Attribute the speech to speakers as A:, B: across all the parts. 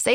A: Say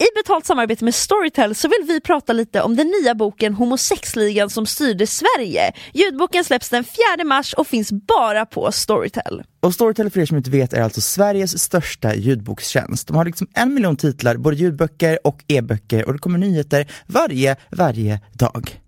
B: I betalt samarbete med Storytel så vill vi prata lite om den nya boken Homosexligan som styrde Sverige. Ljudboken släpps den 4 mars och finns bara på Storytel.
C: Och Storytel för er som inte vet är alltså Sveriges största ljudbokstjänst. De har liksom en miljon titlar, både ljudböcker och e-böcker och det kommer nyheter varje, varje dag.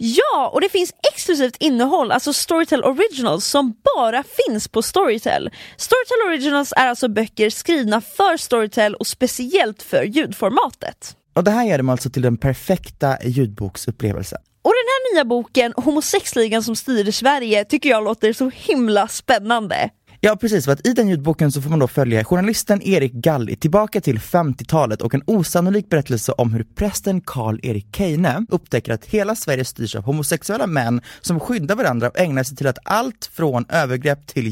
B: Ja, och det finns exklusivt innehåll, alltså Storytel Originals, som bara finns på Storytel. Storytel Originals är alltså böcker skrivna för Storytel och speciellt för ljudformatet.
C: Och det här gör dem alltså till den perfekta ljudboksupplevelsen.
B: Och den här nya boken, Homosexligan som styr Sverige, tycker jag låter så himla spännande.
C: Ja precis, för att i den ljudboken så får man då följa journalisten Erik Galli tillbaka till 50-talet och en osannolik berättelse om hur prästen Karl-Erik Keine upptäcker att hela Sverige styrs av homosexuella män som skyddar varandra och ägnar sig till att allt från övergrepp till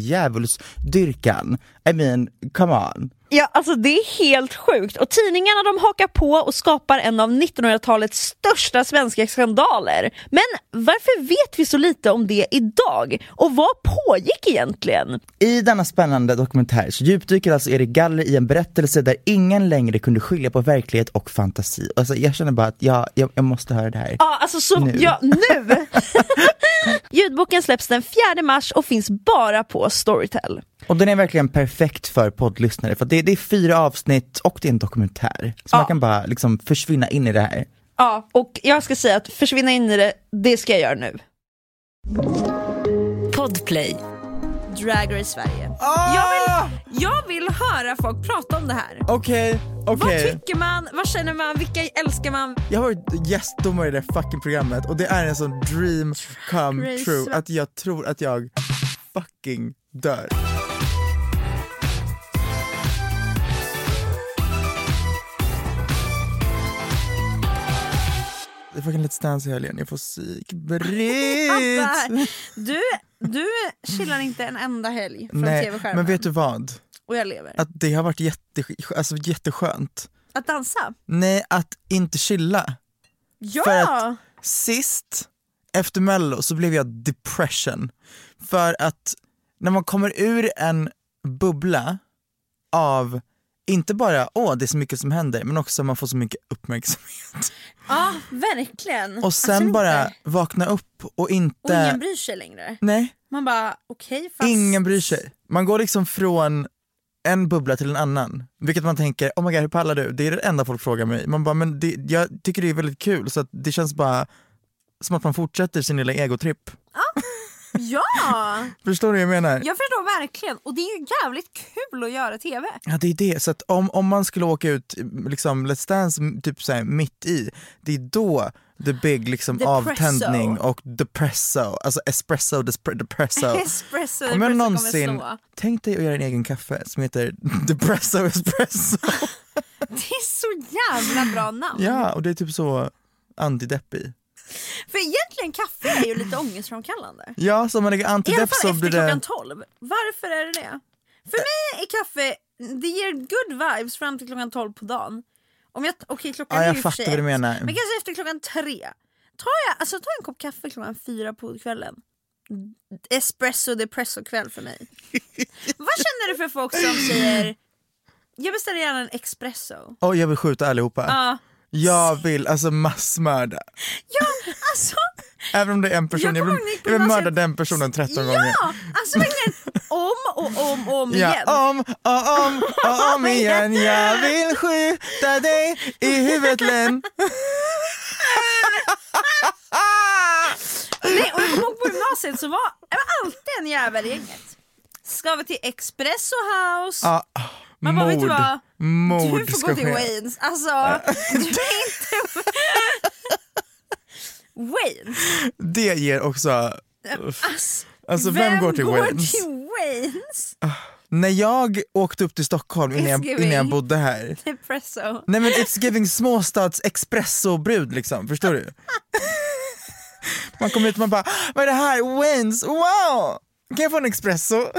C: djävulsdyrkan. I mean, come on.
B: Ja, alltså det är helt sjukt och tidningarna de hakar på och skapar en av 1900-talets största svenska skandaler. Men varför vet vi så lite om det idag? Och vad pågick egentligen?
C: I denna spännande dokumentär så djupdyker alltså Erik Galler i en berättelse där ingen längre kunde skilja på verklighet och fantasi. Alltså jag känner bara att jag, jag, jag måste höra det här.
B: Ja, alltså så,
C: Nu.
B: ja nu! Ljudboken släpps den 4 mars och finns bara på Storytel.
C: Och den är verkligen perfekt för poddlyssnare för att det, det är fyra avsnitt och det är en dokumentär. Så man
B: Ja.
C: kan bara liksom försvinna in i det här.
B: Ja, och jag ska säga att försvinna in i det, det ska jag göra nu.
D: Podplay.
B: Drag Race Sverige.
C: Ah!
B: Jag, vill, jag vill höra folk prata om det här.
C: Okej, okej.
B: Vad tycker man? Vad känner man? Vilka älskar man?
C: Jag har varit gästdomare i det här fucking programmet och det är en sån dream come
B: Race.
C: true att jag tror att jag fucking dör. Det är fucking Let's Dance i helgen, jag får psykbryt!
B: Alltså, du, du chillar inte en enda helg från
C: Nej,
B: tv-skärmen.
C: men vet du vad?
B: Och jag lever. Att,
C: Att det har varit jätte, alltså, jätteskönt.
B: dansa?
C: Nej, att inte chilla.
B: Ja!
C: För att- Sist efter mello så blev jag depression. För att när man kommer ur en bubbla av inte bara åh det är så mycket som händer men också man får så mycket uppmärksamhet.
B: Ja, verkligen.
C: Och sen
B: Absolut
C: bara
B: Alltså, inte.
C: vakna upp och
B: Och
C: inte...
B: ingen bryr sig längre.
C: nej,
B: Man bara, okej fast...
C: ingen bryr sig. Man går liksom från en bubbla till en annan. Vilket man tänker, oh my god hur pallar du? Det är det enda folk frågar mig. Man bara, men det, jag tycker det är väldigt kul så att det känns bara som att man fortsätter sin lilla egotripp.
E: Ja,
C: Förstår du vad jag menar?
E: jag förstår verkligen. Och det är ju jävligt kul att göra TV.
C: Ja det är det, så att om, om man skulle åka ut liksom Let's Dance m- typ så här, mitt i, det är då the big liksom
E: Depresso.
C: avtändning och depresso, alltså espresso, despre, depresso.
E: Espresso,
C: Om jag
E: espresso
C: någonsin,
E: kommer slå.
C: tänk dig att göra en egen kaffe som heter depresso espresso.
E: Det är så jävla bra namn.
C: ja och det är typ så antideppig.
E: För egentligen kaffe är ju lite ångestframkallande.
C: Ja så om man lägger
E: I alla
C: antidepp
E: fall
C: så
E: efter
C: blir
E: klockan
C: det,
E: 12. Varför är det det? För mig är kaffe, det ger good vibes fram till klockan 12 på dagen. Om jag, okej klockan
C: Ja,
E: är
C: jag
E: ju för sig
C: fattar vad du
E: ett.
C: menar.
E: Men kanske efter klockan 3. Tar jag, alltså tar jag en kopp kaffe klockan 4 på kvällen. Espresso depresso kväll för mig. Vad känner du för folk som säger jag beställer gärna en espresso.
C: oj jag vill skjuta allihopa.
E: Ja,
C: Jag vill alltså massmörda.
E: alltså
C: Även om det är en person,
E: Jag
C: jag vill,
E: kommer ihåg när jag gick på
C: jag vill mörda
E: gymnasiet.
C: den personen 13 gånger.
E: ja, alltså verkligen om och om och om igen.
C: Ja, om och om och om igen Jag vill skjuta dig i huvudet Len
E: gymnasiet så var det var alltid en jävel i gänget. Ska vi till Espresso House?
C: Ja,
E: Man bara, vet du
C: mord.
E: vad?
C: Mord
E: du får
C: ska
E: gå till
C: ske.
E: Waynes. Alltså, du är inte... Waynes?
C: Det ger också...
E: Alltså,
C: Alltså vem, går till Waynes?
E: till Waynes?
C: När jag åkte upp till Stockholm innan jag,
E: It's giving.
C: innan jag bodde här.
E: Espresso.
C: Nej men it's giving småstads espresso-brud liksom, förstår du? Man kommer ut och man bara, vad är det här? Waynes, wow! Kan jag få en espresso?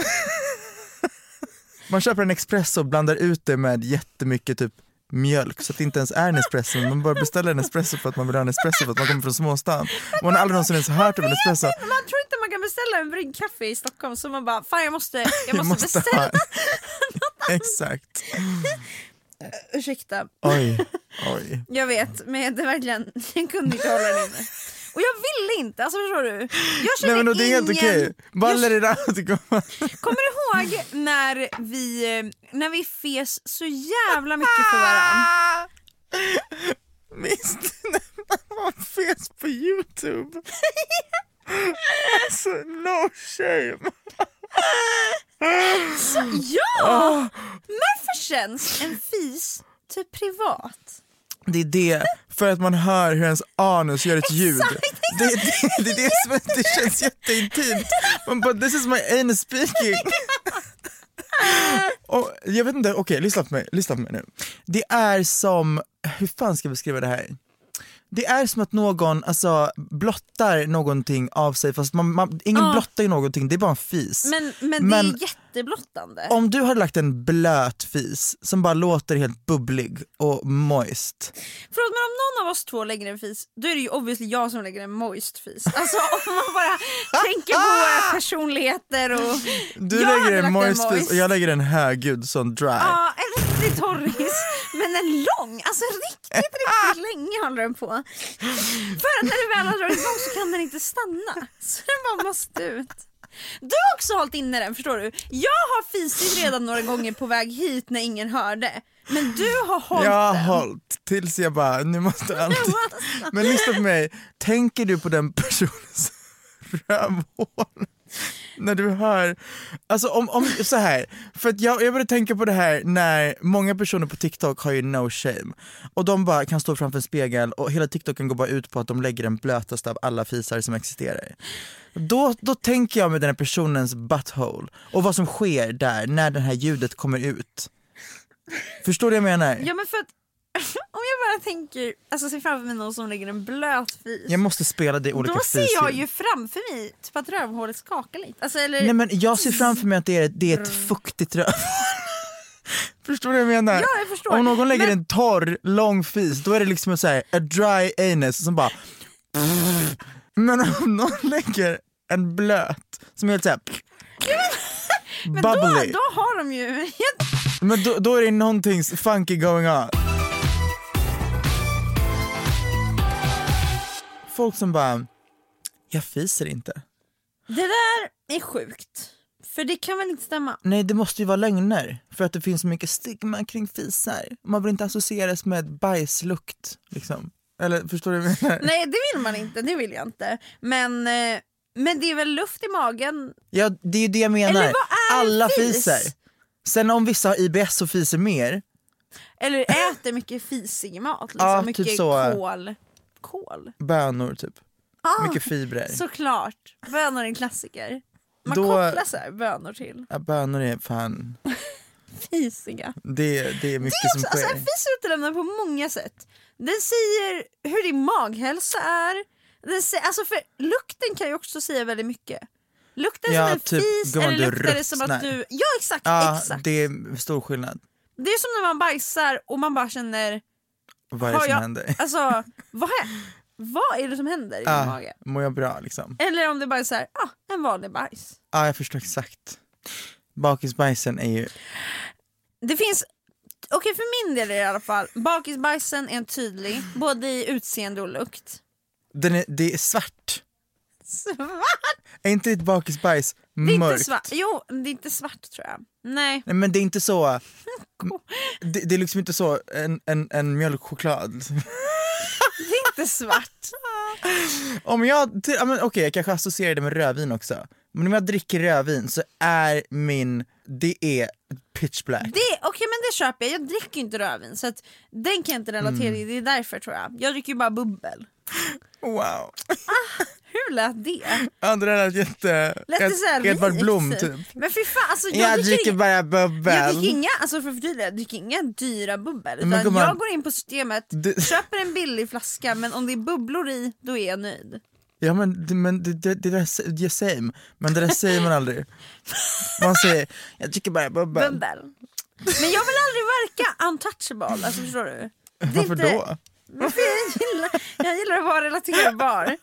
C: Man köper en espresso och blandar ut det med jättemycket typ mjölk så att det inte ens är en espresso. Man bara beställer en espresso för att man vill ha en espresso för att man kommer från småstan. Man har aldrig någonsin ens hört om en espresso.
E: Man tror inte man kan beställa en bryggkaffe i Stockholm så man bara fan jag måste, jag måste,
C: måste
E: beställa.
C: ha- Exakt.
E: Ursäkta,
C: Oj, oj.
E: jag vet men det är verkligen, jag kunde inte hålla det inne. Och jag ville inte, alltså förstår du? Jag känner
C: Nej men då, det är helt
E: ingen...
C: okej. Ballar i rad.
E: Kommer du ihåg när vi, eh, när vi fes så jävla mycket för varandra?
C: Minns du när man fes på Youtube? Alltså no shame.
E: Ja!
C: Ah.
E: Men varför känns en fis typ privat?
C: Det är det, för att man hör hur ens anus gör ett ljud. Det, är det, det är det som det känns jätteintimt. Man bara this is my anus speaking. Och jag vet inte, okej lyssna på mig, lyssna på mig nu. Det är som, hur fan ska jag beskriva det här? Det är som att någon alltså, blottar någonting av sig fast man, man, ingen blottar ju någonting, det är bara en fis.
E: Men, men, det
C: Men-
E: är jätteblottande.
C: Om du hade lagt en blöt fis som bara låter helt bubblig och moist.
E: Förlåt men om någon av oss två lägger en fis, då är det ju obviously jag som lägger en moist fis. Alltså om man bara tänker på våra personligheter och...
C: Du
E: Jag hade
C: lägger en
E: lagt en
C: moist fis
E: moist.
C: och jag lägger en högljudd sån dry.
E: Ja, en riktig torris, men en lång. Alltså riktigt, riktigt länge håller den på. För att när du väl har dragit igång så kan den inte stanna. Så den bara måste ut. Du har också hållit inne den förstår du. Jag har fisit redan några gånger på väg hit när ingen hörde. Men du har hållit
C: jag har
E: den. alltså,
C: hållit tills jag bara, nu måste allt... Men lyssna på mig, tänker du på den personens rövhål? När du hör, alltså om, om så här, för att jag, jag började tänka på det här när många personer på TikTok har ju no shame och de bara kan stå framför en spegel och hela TikToken går bara ut på att de lägger den blötaste av alla fisar som existerar. Då, då tänker jag med den här personens butthole och vad som sker där när det här ljudet kommer ut. Förstår du vad jag menar?
E: Ja men för att om jag bara tänker, alltså ser framför mig någon som lägger en blöt fis.
C: Jag måste spela det i olika
E: då ser jag
C: fisljud.
E: ju framför mig typ att rövhålet skakar lite. Alltså, eller,
C: Nej men jag ser framför mig att det är, det är ett fuktigt rövhål. Förstår du vad jag menar?
E: Ja, jag förstår.
C: Om någon lägger en torr, lång fis, då är det liksom en så här, a dry anus som bara... Men om någon lägger en blöt som är helt såhär...
E: men då,
C: Bubbly.
E: då har de ju...
C: Men då, då är det någonting funky going on. Folk som bara, jag fiser inte.
E: Det där är sjukt. För det kan väl inte stämma?
C: Nej, det måste ju vara lögner för att det finns så mycket stigma kring fisar. Man vill inte associeras med bajslukt liksom. Eller förstår du vad jag menar?
E: Nej det vill man inte, det vill jag inte. Men, eh, men det är väl luft i magen?
C: Ja, det är ju det jag
E: Eller
C: menar.
E: vad är en
C: Alla
E: fis?
C: fiser. Sen om vissa har IBS och fiser mer,
E: Eller äter mycket fisig mat? Liksom.
C: Ja, typ
E: mycket
C: så.
E: kol. Kol?
C: bönor typ.
E: Ah,
C: Mycket fibrer.
E: Såklart, bönor är en klassiker. Man
C: Då-
E: kopplar så här bönor till
C: Ja, bönor är fan,
E: fisiga.
C: det, det är mycket
E: Det är också,
C: som sker.
E: alltså, en fis är utelämnad på många sätt. Den säger hur din maghälsa är. Den säger, alltså för lukten kan ju också säga väldigt mycket. Luktar det
C: Ja,
E: som en
C: typ,
E: fis
C: gumman,
E: eller
C: du
E: luktar det som att
C: ruttnar.
E: du... Ja exakt,
C: ja,
E: exakt.
C: det är stor skillnad.
E: Det är som när man bajsar och man bara känner,
C: Vad är det
E: Har
C: som
E: jag-
C: händer?
E: alltså vad är, vad är det som händer i din
C: Ah,
E: mage?
C: mår jag bra liksom?
E: Eller om det bara är så här, ah, en vanlig bajs.
C: Ja, jag förstår exakt. Bakisbajsen är ju
E: Det finns, okej för min del är det i alla fall, bakisbajsen är en tydlig, både i utseende och lukt.
C: Den är, det är svart.
E: Svart!
C: Är inte ditt bakisbajs
E: Det är
C: mörkt?
E: inte svart. Jo, det är inte svart tror jag. Nej.
C: Nej men det är inte så... Det, det är liksom inte så en, en, en mjölkchoklad.
E: Det är jättesvart.
C: Om jag, till- ja, men okej jag kanske associerar det med rödvin också. Men om jag dricker rödvin så är min, det är pitch black.
E: Det, Okej men det köper jag, jag dricker ju inte rödvin så att den kan jag inte
C: Mm.
E: relatera till, det är därför tror jag. Jag dricker ju bara bubbel.
C: Wow.
E: Hur lät det?
C: Ja det där lät jätte...
E: Lät det såhär
C: Edvard
E: rikt?
C: Blom typ.
E: Men fy fan alltså jag,
C: Jag
E: dricker,
C: dricker
E: inga,
C: bara
E: jag dricker
C: bubbel.
E: inga, alltså för att förtydliga, jag dricker inga dyra bubbel.
C: Men
E: Utan
C: gumman,
E: jag går in på systemet,
C: du-
E: köper en billig flaska men om det är bubblor i då är jag nöjd.
C: Ja men, det- men det, det, det där, s- ja, same. Men det där säger man aldrig. Man säger, jag dricker bara bubbel.
E: Bubbel. Men jag vill aldrig verka untouchable, alltså förstår du? Det är
C: Varför
E: inte-
C: då?
E: Men för jag, gillar, jag gillar att vara relaterbar.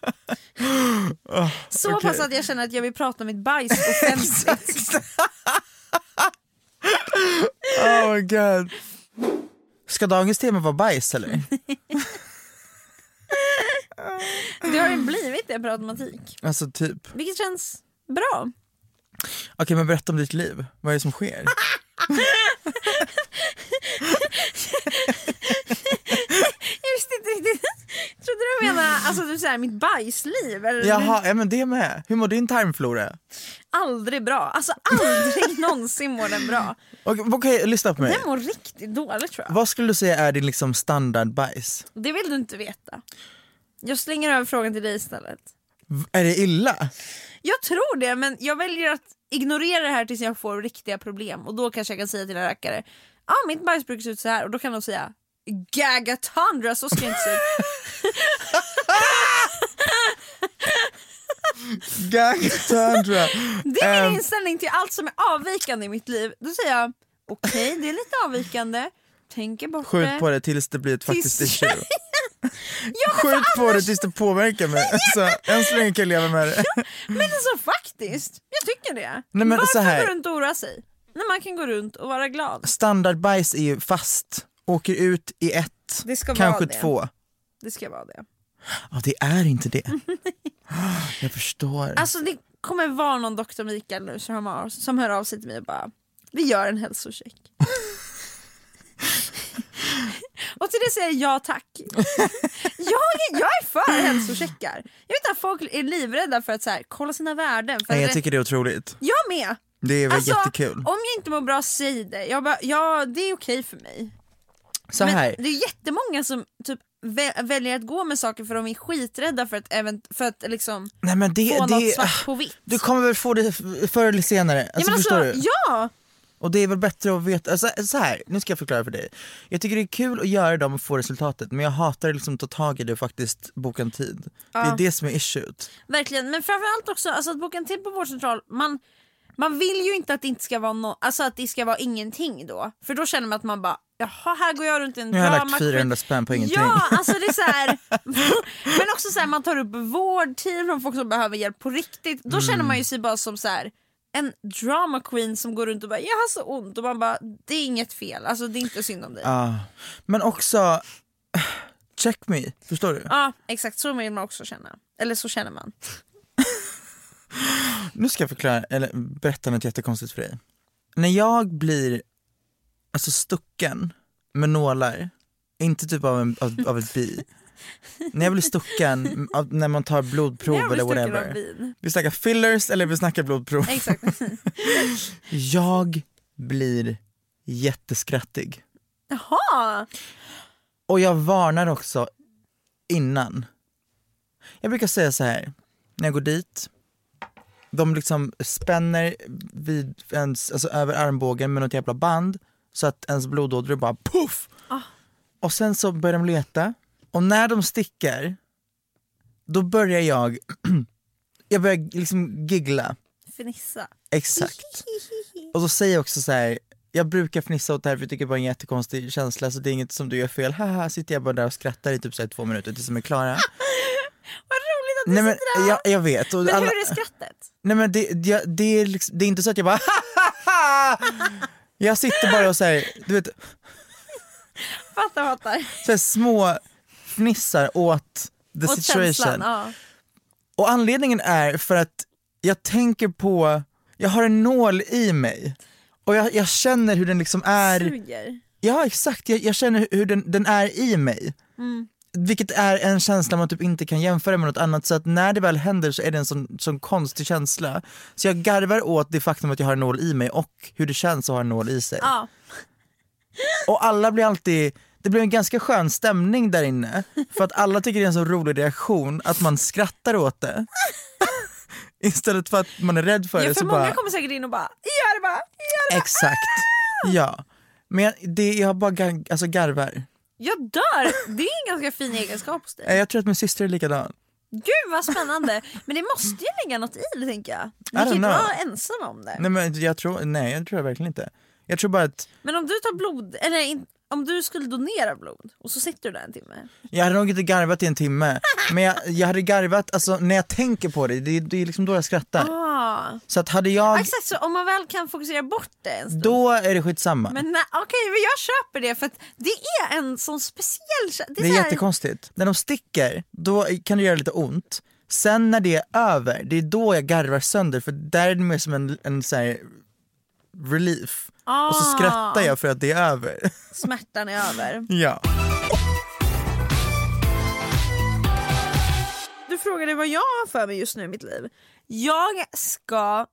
E: Så
C: okej.
E: pass att jag känner att jag vill prata om mitt bajs offentligt.
C: Oh my god. Ska dagens tema vara bajs eller?
E: det har ju blivit det per automatik.
C: Alltså typ.
E: Vilket känns bra.
C: Okej men berätta om ditt liv, vad är det som sker?
E: Jag visste inte riktigt. Trodde du menade alltså, du, så här, mitt bajsliv? Eller
C: Jaha, ja men det med. Hur mår din tarmflora?
E: Aldrig bra. Alltså aldrig någonsin mår den bra.
C: Okej, okej, lyssna på mig.
E: Den mår riktigt dåligt tror jag.
C: Vad skulle du säga är din liksom standardbajs?
E: Det vill du inte veta. Jag slänger över frågan till dig istället.
C: V- Är det illa?
E: Jag tror det, men jag väljer att ignorera det här tills jag får riktiga problem och då kanske jag kan säga till en rackare ja ah, mitt bajs brukar se ut så här och då kan de säga gagatandra så ska jag inte se ut.
C: Gagtandra.
E: Det är
C: Ehm.
E: min inställning till allt som är avvikande i mitt liv. Då säger jag okej det är lite avvikande, tänker bort det.
C: Skjut på det tills det blir ett faktiskt
E: Tills-
C: issue. Skjut på det tills det påverkar mig. Alltså, än så länge kan jag leva med det.
E: Men alltså faktiskt, jag tycker det.
C: Nej, men
E: Varför
C: så här-
E: gå runt och oroa sig? När man kan gå runt och vara glad.
C: Standardbajs är ju fast, åker ut i ett,
E: Det ska
C: kanske
E: vara det.
C: två.
E: Det ska vara det.
C: Ja det är inte det. Jag förstår.
E: Alltså det kommer vara någon doktor Mikael nu som hör, som hör av sig till mig och bara Vi gör en hälsocheck. och till det säger jag ja tack. jag, jag är för hälsocheckar. Jag vet att folk är livrädda för att så här, kolla sina värden. För
C: Nej, jag
E: att-
C: tycker det är otroligt.
E: jag med!
C: Det är väl
E: Alltså,
C: jättekul.
E: om jag inte mår bra, säg det. Jag bara, ja, det är okej för mig.
C: Så här.
E: Men det är jättemånga som typ, vä- väljer att gå med saker för de är skiträdda för att, event- för att liksom,
C: Nej men det,
E: få något
C: det
E: svart på vitt.
C: du kommer väl få det f- förr eller senare. Alltså,
E: ja, men
C: förstår
E: alltså,
C: du?
E: ja!
C: Och det är väl bättre att veta, alltså, så här, nu ska jag förklara för dig. Jag tycker det är kul att göra dem och få resultatet men jag hatar liksom att ta tag i det och faktiskt boka en tid. Det är det som är issuet.
E: Verkligen, men framförallt också alltså att boka en tid på vårdcentral, man, man vill ju inte att det inte ska vara no, alltså att det ska vara ingenting då. För då känner man att man bara, jaha här går jag runt i en
C: Nu har jag
E: drama-
C: lagt 400 spänn på ingenting.
E: Ja, alltså det är så här, men också så här, man tar upp vårdteam från folk som behöver hjälp på riktigt. Då känner man ju sig bara som så här, en drama queen som går runt och bara jag har så ont och man bara det är inget fel, alltså det är inte synd om dig. Ja,
C: Ah. Men också, check me, förstår du?
E: exakt så vill man också känna. Eller så känner man.
C: Nu ska jag förklara, eller berätta något jättekonstigt för dig. När jag blir alltså stucken med nålar, inte typ av, en, av, av ett bi. när jag blir stucken, av, när man tar blodprov
E: jag blir
C: eller
E: stucken av
C: whatever.
E: bin.
C: Vi snackar fillers eller vi snackar blodprov.
E: Exakt.
C: Jag blir jätteskrattig.
E: Jaha!
C: Och jag varnar också innan. Jag brukar säga så här när jag går dit. De liksom spänner vid ens, alltså över armbågen med något jävla band så att ens blodådror bara puff. Och sen så börjar de leta och när de sticker då börjar jag, jag börjar liksom giggla.
E: Fnissa.
C: Exakt. Och så säger jag också så här. Jag brukar fnissa åt det här för jag tycker det är bara en jättekonstig känsla så det är inget som du gör fel. Haha, sitter jag bara där och skrattar i typ så här två minuter tills de är
E: Ah,
C: klara.
E: Vad roligt att du
C: nej men
E: sitter där!
C: jag, jag vet. Och
E: men
C: alla,
E: hur är skrattet?
C: nej men det, det, det, är liksom, det är inte så att jag bara Hahaha! Jag sitter bara och så här, du vet,
E: Fattar, fattar.
C: så här små fnissar åt the
E: Åt
C: situation.
E: känslan, ja.
C: Och anledningen är för att jag tänker på, jag har en nål i mig och jag, jag känner hur den liksom är
E: Suger. Mm.
C: Ja exakt, jag, jag känner hur den, den är i mig. Vilket är en känsla man typ inte kan jämföra med något annat så att när det väl händer så är det en sån, sån konstig känsla. Så jag garvar åt det faktum att jag har en nål i mig och hur det känns att ha en nål i sig.
E: Ja.
C: Och alla blir alltid, det blir en ganska skön stämning där inne för att alla tycker det är en så rolig reaktion att man skrattar åt det. Istället för att man är rädd för
E: Ja,
C: det
E: för
C: så
E: många
C: bara,
E: kommer säkert in och bara gör det bara, gör det bara.
C: exakt. Ja. Men jag- det, jag bara gar, alltså garvar.
E: Jag dör! Det är en ganska fin egenskap hos dig.
C: Eh, Jag tror att min syster är likadan.
E: Gud vad spännande! Men det måste ju ligga något i det tänker jag. Ni kan
C: I don't
E: ju inte
C: know.
E: vara ensamma om det.
C: Nej men jag tror, nej jag tror verkligen inte. Jag tror bara att
E: Men om du tar blod, eller in, om du skulle donera blod och så sitter du där en timme.
C: Jag hade nog inte garvat i en timme, men jag, jag hade garvat, alltså när jag tänker på det, det, det är liksom då jag skrattar.
E: Ah.
C: Så att hade jag,
E: Exakt så, om man väl kan fokusera bort det en stund.
C: då är det skitsamma.
E: Men nej, okej, men jag köper det för att det är en sån speciell kä-
C: det är
E: så här-
C: jättekonstigt. När de sticker, då kan det göra lite ont. Sen när det är över, det är då jag garvar sönder för där är det mer som en, en så här relief. Och så
E: Ah.
C: skrattar jag för att det är över.
E: Smärtan är över.
C: ja.
E: Du frågade vad jag har för mig just nu i mitt liv. Jag ska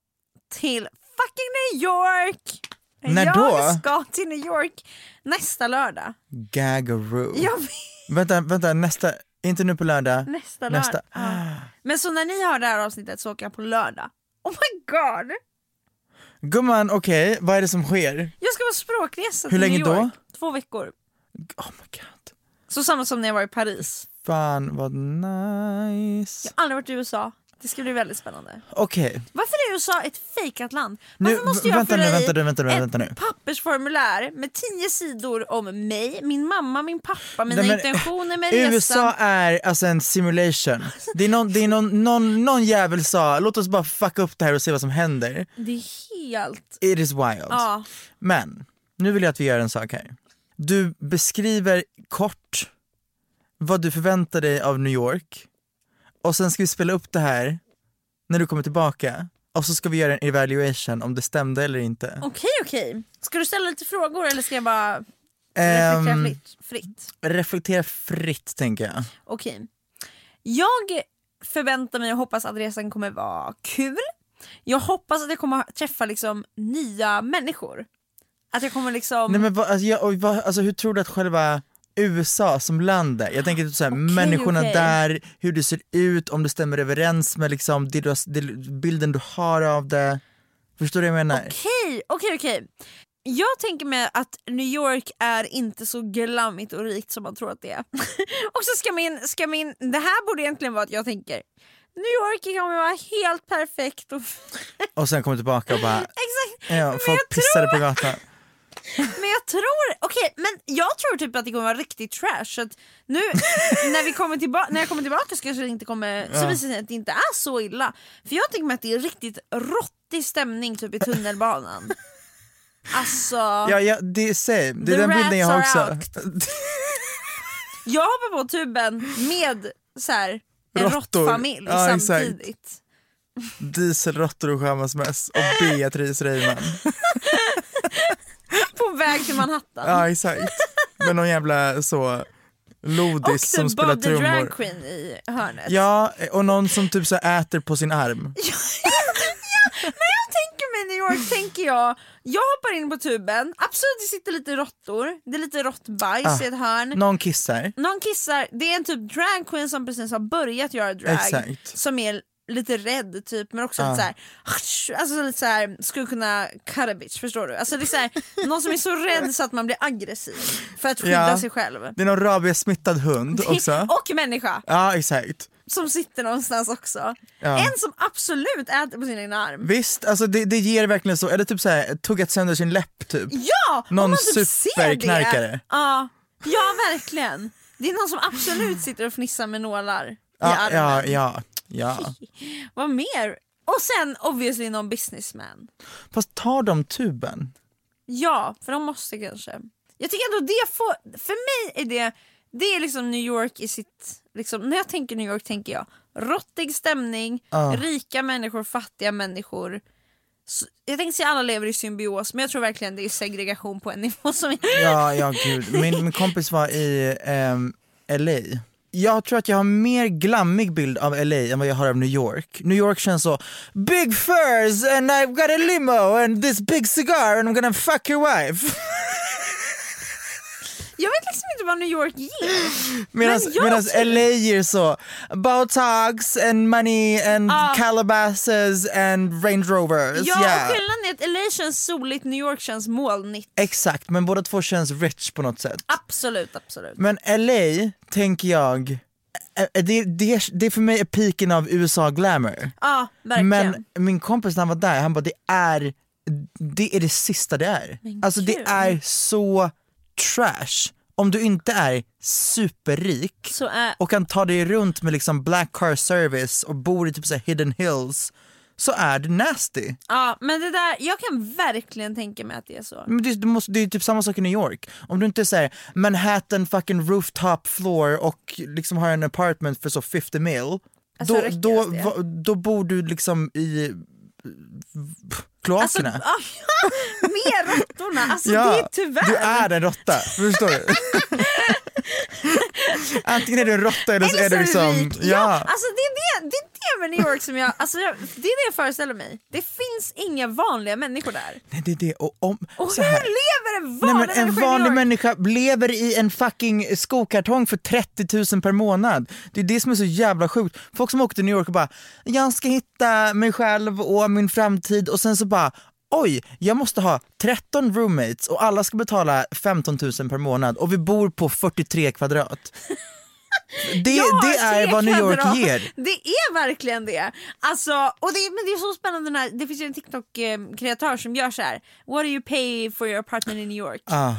E: till fucking New York!
C: När
E: jag
C: då?
E: ska till New York nästa lördag.
C: Gagaroo.
E: Jag vet,
C: Vänta, vänta, nästa, inte nu på lördag.
E: nästa,
C: Nästa.
E: lördag. Ah. Ja. Men så när ni har det här avsnittet så åker jag på lördag. Oh my god!
C: Gumman, okej, vad är det som sker?
E: Jag ska på språkresa
C: Hur
E: till
C: länge
E: New
C: då?
E: York. Två veckor.
C: Oh my god.
E: Så samma som när jag var i Paris.
C: Fan vad nice.
E: Jag har aldrig varit i USA. Det ska bli väldigt spännande.
C: Okej,
E: Varför är USA ett fejkat land?
C: Nu-
E: Varför måste jag
C: vänta
E: fylla
C: nu,
E: i
C: vänta nu, vänta nu,
E: ett
C: vänta nu.
E: pappersformulär med tio sidor om mig, min mamma, min pappa, mina
C: Nej, men-
E: intentioner med
C: USA
E: resan?
C: är alltså en simulation. Det är, någon, det är någon, någon, någon jävel sa låt oss bara fucka upp det här och se vad som händer.
E: Det är helt...
C: It is wild.
E: Ja.
C: Men nu vill jag att vi gör en sak här. Du beskriver kort vad du förväntar dig av New York och sen ska vi spela upp det här när du kommer tillbaka och så ska vi göra en evaluation om det stämde eller inte.
E: Okej, okej. Ska du ställa lite frågor eller ska jag bara
C: Ehm,
E: reflektera fritt? fritt?
C: reflektera fritt tänker jag.
E: Okej. Jag förväntar mig och hoppas att resan kommer vara kul. Jag hoppas att jag kommer träffa liksom nya människor. Att jag kommer liksom...
C: Nej men vad, alltså, jag, och vad, alltså, hur tror du att själva USA som land är? Jag tänker typ såhär, människorna
E: okej.
C: där, hur det ser ut, om det stämmer överens med liksom, det du, har- det, bilden du har av det. Förstår du vad jag menar?
E: Okej, okej, okej. Jag tänker mig att New York är inte så glammigt och rikt som man tror att det är. och så ska min, ska min... Det här borde egentligen vara att jag tänker New York kommer vara helt perfekt och...
C: Och sen kommer tillbaka och bara,
E: Exakt!
C: ja,
E: jag
C: folk pissade på gatan.
E: Men jag tror, okej men jag tror typ att det kommer vara riktigt trash så att nu när, vi kommer tillba- när jag kommer tillbaka så kanske det inte kommer, så
C: Ja.
E: visar det sig att det inte är så illa. För jag tänker mig att det är riktigt rottig stämning typ i tunnelbanan. Alltså,
C: Ja, ja det är same, det är
E: The
C: den bilden jag har
E: rats are
C: också.
E: jag hoppar på tuben med så här, en
C: Råttor.
E: råttfamilj
C: Ja, exakt.
E: samtidigt.
C: Dieselråttor och skämmas och Beatrice Reimann.
E: På väg till Manhattan.
C: Ja exakt. Med någon jävla så
E: Och
C: lodis som
E: typ
C: spelar
E: Bob the
C: trummor.
E: Drag Queen i hörnet.
C: Ja, och någon som typ så här äter på sin arm.
E: När jag tänker mig New York tänker jag, jag hoppar in på tuben, absolut det sitter lite råttor, det är lite råttbajs
C: Ah,
E: i ett hörn.
C: Någon kissar.
E: Någon kissar, det är en typ drag queen som precis har börjat göra drag,
C: Exakt.
E: som är lite rädd typ men också
C: Ah.
E: lite såhär, alltså lite såhär, skulle kunna cut a bitch förstår du? Alltså det är såhär, någon som är så rädd så att man blir aggressiv för att skydda
C: Ja.
E: sig själv.
C: Det är någon rabiessmittad hund också.
E: Och människa
C: Ja, exakt.
E: som sitter någonstans också.
C: Ja.
E: En som absolut äter på sin egen arm.
C: Visst, alltså det, det ger verkligen så. Eller typ så här, tuggat sönder sin läpp typ.
E: Ja!
C: Någon
E: om man typ ser
C: superknarkare.
E: det. Ja, ja, verkligen. Det är någon som absolut sitter och fnissar med nålar i
C: Ja,
E: armen.
C: ja, ja, ja.
E: Vad mer? Och sen obviously någon businessman.
C: Fast tar de tuben?
E: Ja, för de måste kanske. Jag tycker ändå det får, för mig är det, det är liksom New York i sitt, liksom, när jag tänker New York tänker jag råttig stämning,
C: Ja.
E: rika människor, fattiga människor. Så- Jag tänkte säga alla lever i symbios men jag tror verkligen det är segregation på en nivå som inte
C: Ja, ja gud. Min, min kompis var i ehm, LA Jag tror att jag har en mer glammig bild av LA än vad jag har av New York. New York känns så big furs and I've got a limo and this big cigar and I'm gonna fuck your wife.
E: Jag vet liksom inte vad New York ger.
C: Medan
E: jag tror-
C: LA ger så Botox and money and
E: Ja.
C: Calabasas and Range Rovers.
E: Ah. Ja,
C: yeah.
E: skillnaden är att LA känns soligt, New York känns molnigt.
C: Exakt, men båda två känns rich på något sätt.
E: Absolut, absolut.
C: Men LA tänker jag, ä- ä- det, det, det är för mig är piken av USA glamour.
E: Ja, verkligen.
C: Men min kompis när han var där, han bara det är det, är det sista det är. alltså det
E: gud.
C: är så trash. Om du inte är superrik
E: Så är...
C: och kan ta dig runt med liksom black car service och bor i typ så här hidden hills så är det nasty.
E: Ja, men det där, jag kan verkligen tänka mig att det är så.
C: Men det, du måste, det är ju typ samma sak i New York. Om du inte säger Manhattan fucking rooftop floor och liksom har en apartment för så 50 mil.
E: Alltså,
C: då,
E: räcker
C: då,
E: det?
C: va, då bor du liksom i eh, pff, kloakerna.
E: ja, Alltså, med råttorna! Alltså det är tyvärr...
C: Du är en råtta, förstår du? Antingen är du en råtta eller så är du liksom...
E: rik. Ja.
C: Ja.
E: alltså det är det, det är det med New York som jag, alltså jag, det är det jag föreställer mig. Det finns inga vanliga människor där.
C: Nej, det är det. Och, om,
E: Och
C: så
E: hur
C: här.
E: lever en
C: Nej,
E: vanlig
C: men en
E: människa i New
C: vanlig
E: York?
C: människa lever i en fucking skokartong för 30 000 per månad. Det är det som är så jävla sjukt. Folk som åker till New York och bara, jag ska hitta mig själv och min framtid och sen så bara, oj, jag måste ha 13 roommates och alla ska betala 15 000 per månad och vi bor på 43 kvadrat. Det,
E: Ja,
C: det är vad New York
E: kvadrat.
C: ger.
E: Det är verkligen det. Alltså, och det, men det är så spännande, den här, det finns ju en TikTok-kreatör som gör så här. What do you pay for your apartment in New York?
C: Ah.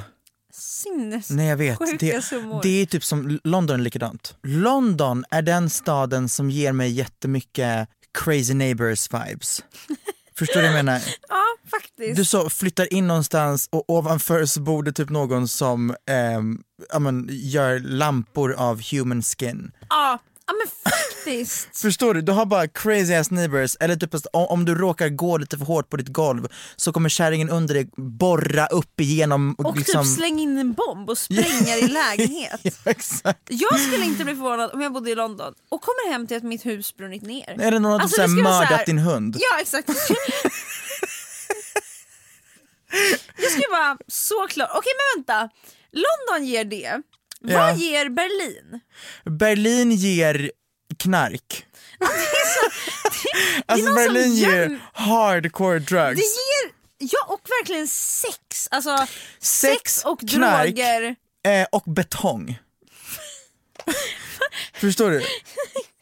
E: Sinnes...
C: Nej jag vet,
E: Sjuka
C: det,
E: summor.
C: det är typ som London är likadant. London är den staden som ger mig jättemycket crazy neighbors vibes. Förstår du vad jag menar?
E: Ja, faktiskt.
C: Du så flyttar in någonstans och ovanför så bor det typ någon som ehm, ja, men, gör lampor av human skin.
E: Ja, ja men faktiskt.
C: Förstår du? Du har bara crazy ass neighbors eller typ att om- om du råkar gå lite för hårt på ditt golv så kommer kärringen under dig borra upp igenom
E: Och
C: liksom...
E: typ slänga in en bomb och spränga din lägenhet.
C: Exakt.
E: Jag skulle inte bli förvånad om jag bodde i London och kommer hem till att mitt hus brunnit ner.
C: Eller någon har typ
E: Alltså,
C: såhär
E: det skulle vara
C: mördat
E: så här-
C: din hund.
E: Ja, exakt. jag skulle vara så klar. Okej, men vänta. London ger det.
C: Ja.
E: Vad ger Berlin?
C: Berlin ger knark.
E: någon
C: alltså
E: som
C: Berlin ger
E: göm-
C: hardcore
E: Det
C: drugs.
E: ger, ja och verkligen sex. Alltså
C: Sex,
E: och
C: knark
E: droger.
C: Eh, och betong. Förstår du?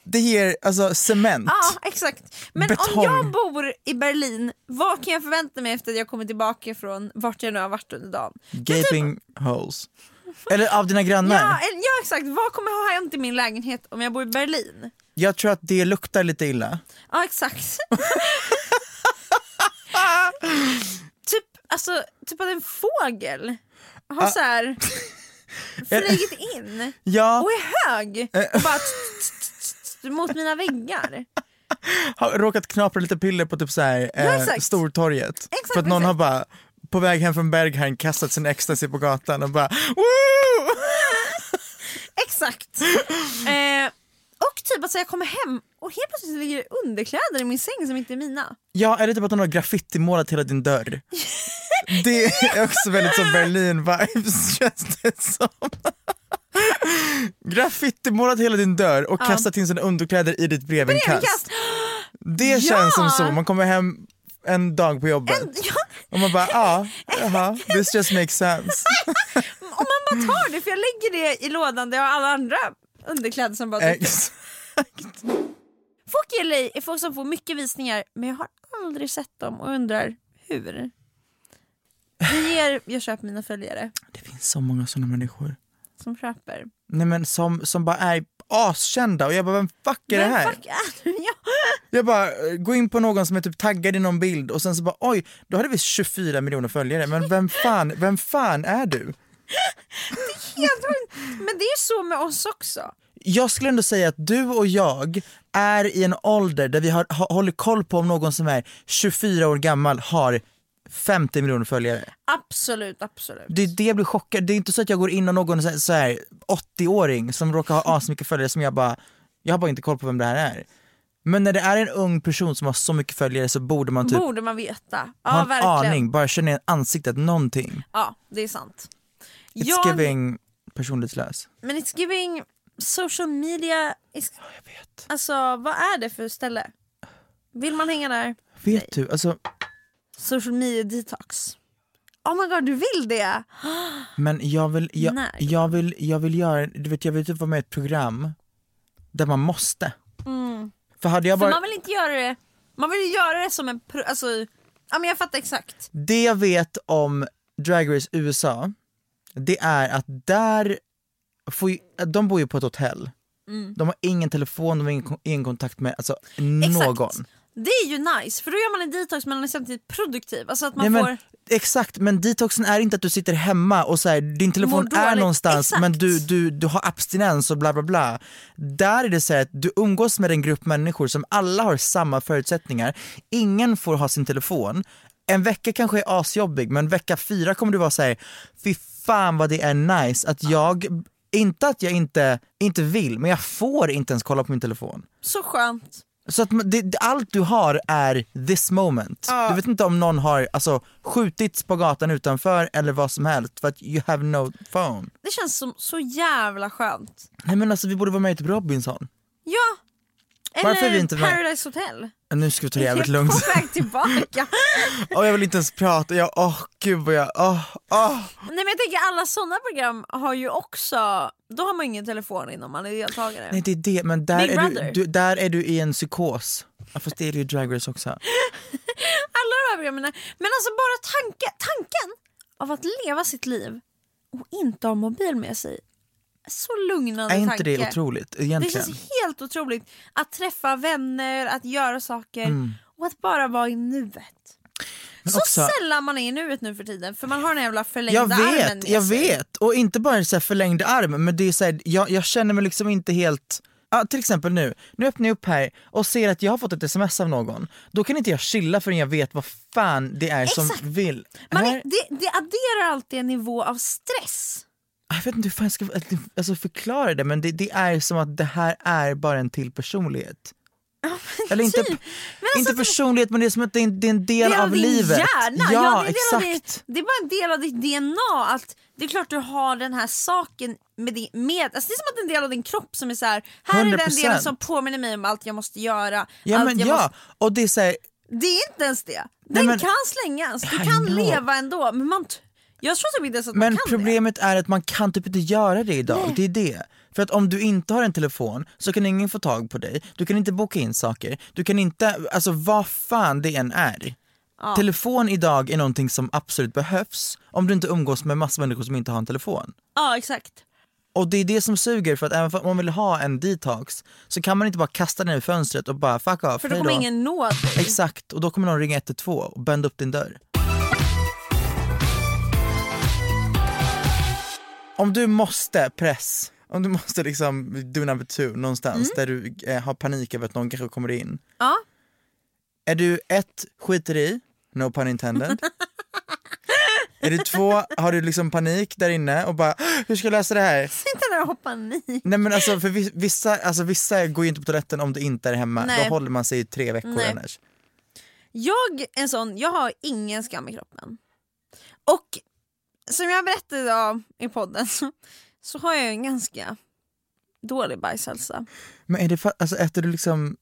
C: Det ger alltså cement.
E: Ja, exakt. Men
C: Betong.
E: om jag bor i Berlin, vad kan jag förvänta mig efter att jag kommer tillbaka från vart jag nu har varit under dagen?
C: Gaping holes. Eller av dina grannar.
E: typ- Ja, eller- ja, exakt. Vad kommer ha hänt i min lägenhet om jag bor i Berlin?
C: Jag tror att det luktar lite illa.
E: Ja, exakt. typ, alltså, typ att en fågel har så här flugit in
C: Ja,
E: och är hög och bara t- t- t- t- t- mot mina väggar.
C: har råkat knapra lite piller på typ så här, eh,
E: exakt.
C: Stortorget.
E: Exakt,
C: för att någon
E: exakt.
C: har bara på väg hem från Berghain kastat sin ecstasy på gatan och bara Woo!
E: Exakt. Eh, och typ att så jag kommer hem och helt plötsligt ligger det underkläder i min säng som inte är mina.
C: Ja, eller typ att de har graffitimålat hela din dörr. Det är också väldigt som Berlin-vibes känns det som. Graffitimålat hela din dörr och kastat in sina underkläder i ditt brevinkast.
E: Överkast.
C: Det känns som så, man kommer hem en dag på jobbet
E: Ja,
C: och man bara ja, jaha, this just makes sense.
E: Om man bara tar det, för jag lägger det i lådan där jag har alla andra underkläder som bara dyker upp.
C: Ex-
E: Folk i LA är folk som får mycket visningar men jag har aldrig sett dem och undrar hur. Det ger jag köper mina följare
C: Det finns så många såna människor.
E: som köper.
C: Nej men som, som bara är askända och jag bara vem fuck är det här?
E: Men fuck är det? Ja.
C: Jag bara, eh, gå in på någon som är typ taggad i någon bild och sen så bara oj, då hade vi 24 miljoner följare men vem fan, vem fan är du?
E: Helt sjukt. Men det är så med oss också.
C: Jag skulle ändå säga att du och jag är i en ålder där vi har, ha, håller koll på om någon som är 24 år gammal har 50 miljoner följare.
E: Absolut, absolut.
C: Det är det jag blir chockad. Det är inte så att jag går in och någon så här- så här 80-åring som råkar ha asmycket följare som jag bara, jag har bara inte koll på vem det här är. Men när det är en ung person som har så mycket följare så borde man typ
E: Borde man veta. Ja,
C: ha en
E: verkligen.
C: aning, bara känna igen ansiktet, någonting.
E: Ja, det är sant.
C: It's
E: Jag-
C: giving personlighetslös.
E: Men it's giving social media... Is,
C: Jag vet.
E: alltså, vad är det för ställe? Vill man hänga där?
C: Vet du, alltså,
E: Social media detox. Oh my god, du vill det?
C: men jag vill, jag,
E: Nej.
C: jag vill, jag vill göra, du vet jag vill typ vara med i ett program där man måste. För hade jag
E: Mm. För
C: varit,
E: man vill inte göra det Man vill ju göra det som en... pro- Alltså, ja, men jag fattar exakt.
C: det jag vet om Drag Race USA, det är att där får ju, de bor ju på ett hotell.
E: Mm.
C: De har ingen telefon, de har ingen, kon- ingen kontakt med alltså, någon.
E: Exakt. Det är ju nice, för då gör man en detox men man är samtidigt produktiv. Alltså att man
C: Nej, men,
E: får...
C: Exakt, men detoxen är inte att du sitter hemma och så här, din telefon
E: Mår
C: är
E: dåligt.
C: någonstans
E: Exakt.
C: men du, du, du har abstinens och bla bla bla. Där är det så här att du umgås med en grupp människor som alla har samma förutsättningar. Ingen får ha sin telefon. En vecka kanske är asjobbig men vecka fyra kommer du vara så här, fy fan vad det är nice att jag, inte att jag inte, inte vill men jag får inte ens kolla på min telefon.
E: Så skönt.
C: Så att man- det, det- allt du har är this moment. Du vet inte om någon har alltså, skjutits på gatan utanför eller vad som helst för att you have no phone.
E: Det känns som så jävla skönt.
C: Nej men alltså vi borde vara med i typ Robinson.
E: Ja! Eller
C: Varför är vi inte med?
E: Paradise Hotel.
C: Nu ska vi ta det jävligt
E: Jag är
C: lugnt.
E: På väg tillbaka.
C: Åh jag vill inte ens prata, jag, åh gud vad jag, åh, åh.
E: Nej men jag tänker alla sådana program har ju också, då har man ingen telefon innan man är deltagare.
C: Nej det är det, men där
E: Big
C: är, du,
E: Brother.
C: du, där är du i en psykos. Ja, fast det är ju Drag Race också.
E: Alla de här programmen, men alltså bara tanke, tanken av att leva sitt liv och inte ha mobil med sig. Så lugnande
C: Är inte
E: tanke.
C: det otroligt
E: Det
C: egentligen?
E: känns helt otroligt att träffa vänner, att göra saker och att bara vara i nuet.
C: Mm. Men
E: Så
C: också-
E: sällan man är i nuet nu för tiden för man har den här jävla förlängda
C: Jag
E: armen
C: vet,
E: med
C: jag
E: sig.
C: vet. Och inte bara så här förlängd arm, men det är så här, jag, jag känner mig liksom inte helt... Ja, till exempel nu, nu öppnar jag upp här och ser att jag har fått ett sms av någon. Då kan inte jag chilla förrän jag vet vad fan det är
E: Exakt.
C: som vill.
E: Man
C: här,
E: är, det, det adderar alltid en nivå av stress.
C: Jag vet inte hur fan jag ska alltså, förklara det, men det, det är som att det här är bara en till personlighet. Eller inte,
E: typ.
C: inte
E: alltså,
C: personlighet, men det är som att det är en, det är en del,
E: del
C: av
E: din
C: livet.
E: Hjärna. Ja,
C: Ja,
E: det, är en del av
C: exakt.
E: ditt- det är bara en del av ditt DNA. Att det är klart du har den här saken med, din, med alltså det är som att en del av din kropp som är så här, här är den
C: 100%.
E: delen som påminner mig om allt jag måste göra.
C: Ja,
E: allt
C: men
E: jag
C: ja.
E: måste,
C: Och det är så här,
E: det är inte ens det. Den
C: men-
E: kan slängas, du
C: I
E: kan
C: know.
E: leva ändå. Men man, t- jag tror typ inte ens att man
C: Men
E: kan det.
C: problemet är att man kan typ inte göra det idag, det är det. För att om du inte har en telefon så kan ingen få tag på dig, du kan inte boka in saker, du kan inte, alltså vad fan det än är. Telefon idag är någonting som absolut behövs om du inte umgås med massa människor som inte har en telefon.
E: Ja exakt.
C: Och det är det som suger för att även om man vill ha en detox så kan man inte bara kasta den i fönstret och bara fuck off,
E: För då
C: hej
E: kommer ingen nå dig.
C: Exakt, och då kommer någon ringa 112 och bända upp din dörr. Om du måste press, om du måste liksom do number two någonstans där du eh, har panik över att någon kanske kommer in.
E: Ja.
C: Är du ett, skiter i, no pun intended. är du två, har du liksom panik där inne och bara hur ska jag lösa det här?
E: Sitta där och hoppa i.
C: Nej men alltså för vi- vissa, alltså vissa går ju inte på toaletten om det inte är hemma,
E: Nej.
C: då håller man sig i tre veckor
E: Nej.
C: annars.
E: Jag, är en sån, jag har ingen skam i kroppen. Och som jag berättade idag i podden så, så har jag en ganska dålig bajshälsa.
C: Men är det för, alltså äter du liksom